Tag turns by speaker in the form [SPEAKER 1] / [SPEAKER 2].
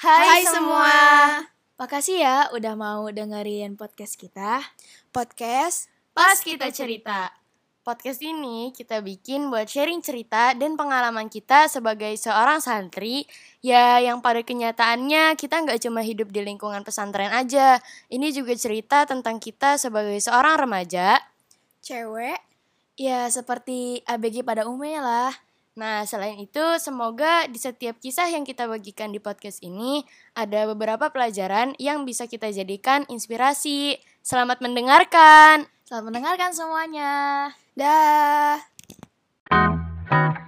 [SPEAKER 1] Hai semua. Makasih ya udah mau dengerin podcast kita.
[SPEAKER 2] Podcast
[SPEAKER 1] Pas kita cerita.
[SPEAKER 3] Podcast ini kita bikin buat sharing cerita dan pengalaman kita sebagai seorang santri Ya yang pada kenyataannya kita nggak cuma hidup di lingkungan pesantren aja Ini juga cerita tentang kita sebagai seorang remaja
[SPEAKER 2] Cewek
[SPEAKER 1] Ya seperti ABG pada umumnya lah.
[SPEAKER 3] Nah selain itu semoga di setiap kisah yang kita bagikan di podcast ini Ada beberapa pelajaran yang bisa kita jadikan inspirasi Selamat mendengarkan
[SPEAKER 1] Selamat mendengarkan semuanya.
[SPEAKER 2] Dah
[SPEAKER 3] Thank you.